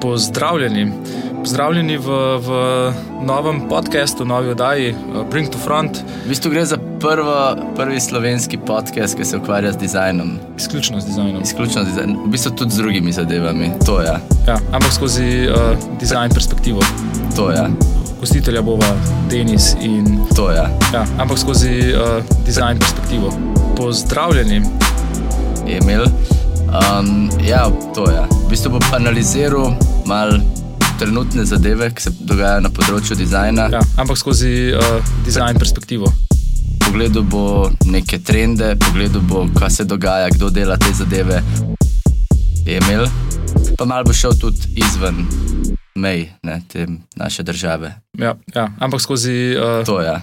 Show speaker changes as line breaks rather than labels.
Pozdravljeni. Pozdravljeni v, v novem podkastu, novi oddaji eh, Bring to Front,
V bistvu gre za prvo, prvi slovenski podcast, ki se ukvarja z dizajnom.
izključno z dizajnom.
Izključno z dizajnom, v bistvu tudi z drugimi zadevami. To je,
Ja, ampak skozi uh, dizajn perspektivo.
to je,
Gostitelja bova Denis in.
to je.
Ja, ampak skozi uh, dizajn perspektivo. Pozdravljeni.
Emil. Um, ja, to je. V bistvu bo pa analiziral malo trenutne zadeve, ki se dogajajo na področju dizajna.
Ja, ampak skozi uh, dizajn perspektivo.
Pogledal bo neke trende, pogledal bo, kaj se dogaja, kdo dela te zadeve. Emil, pa malo bo šel tudi izven mej ne, te naše države.
Ja, ja, ampak skozi uh,
To je.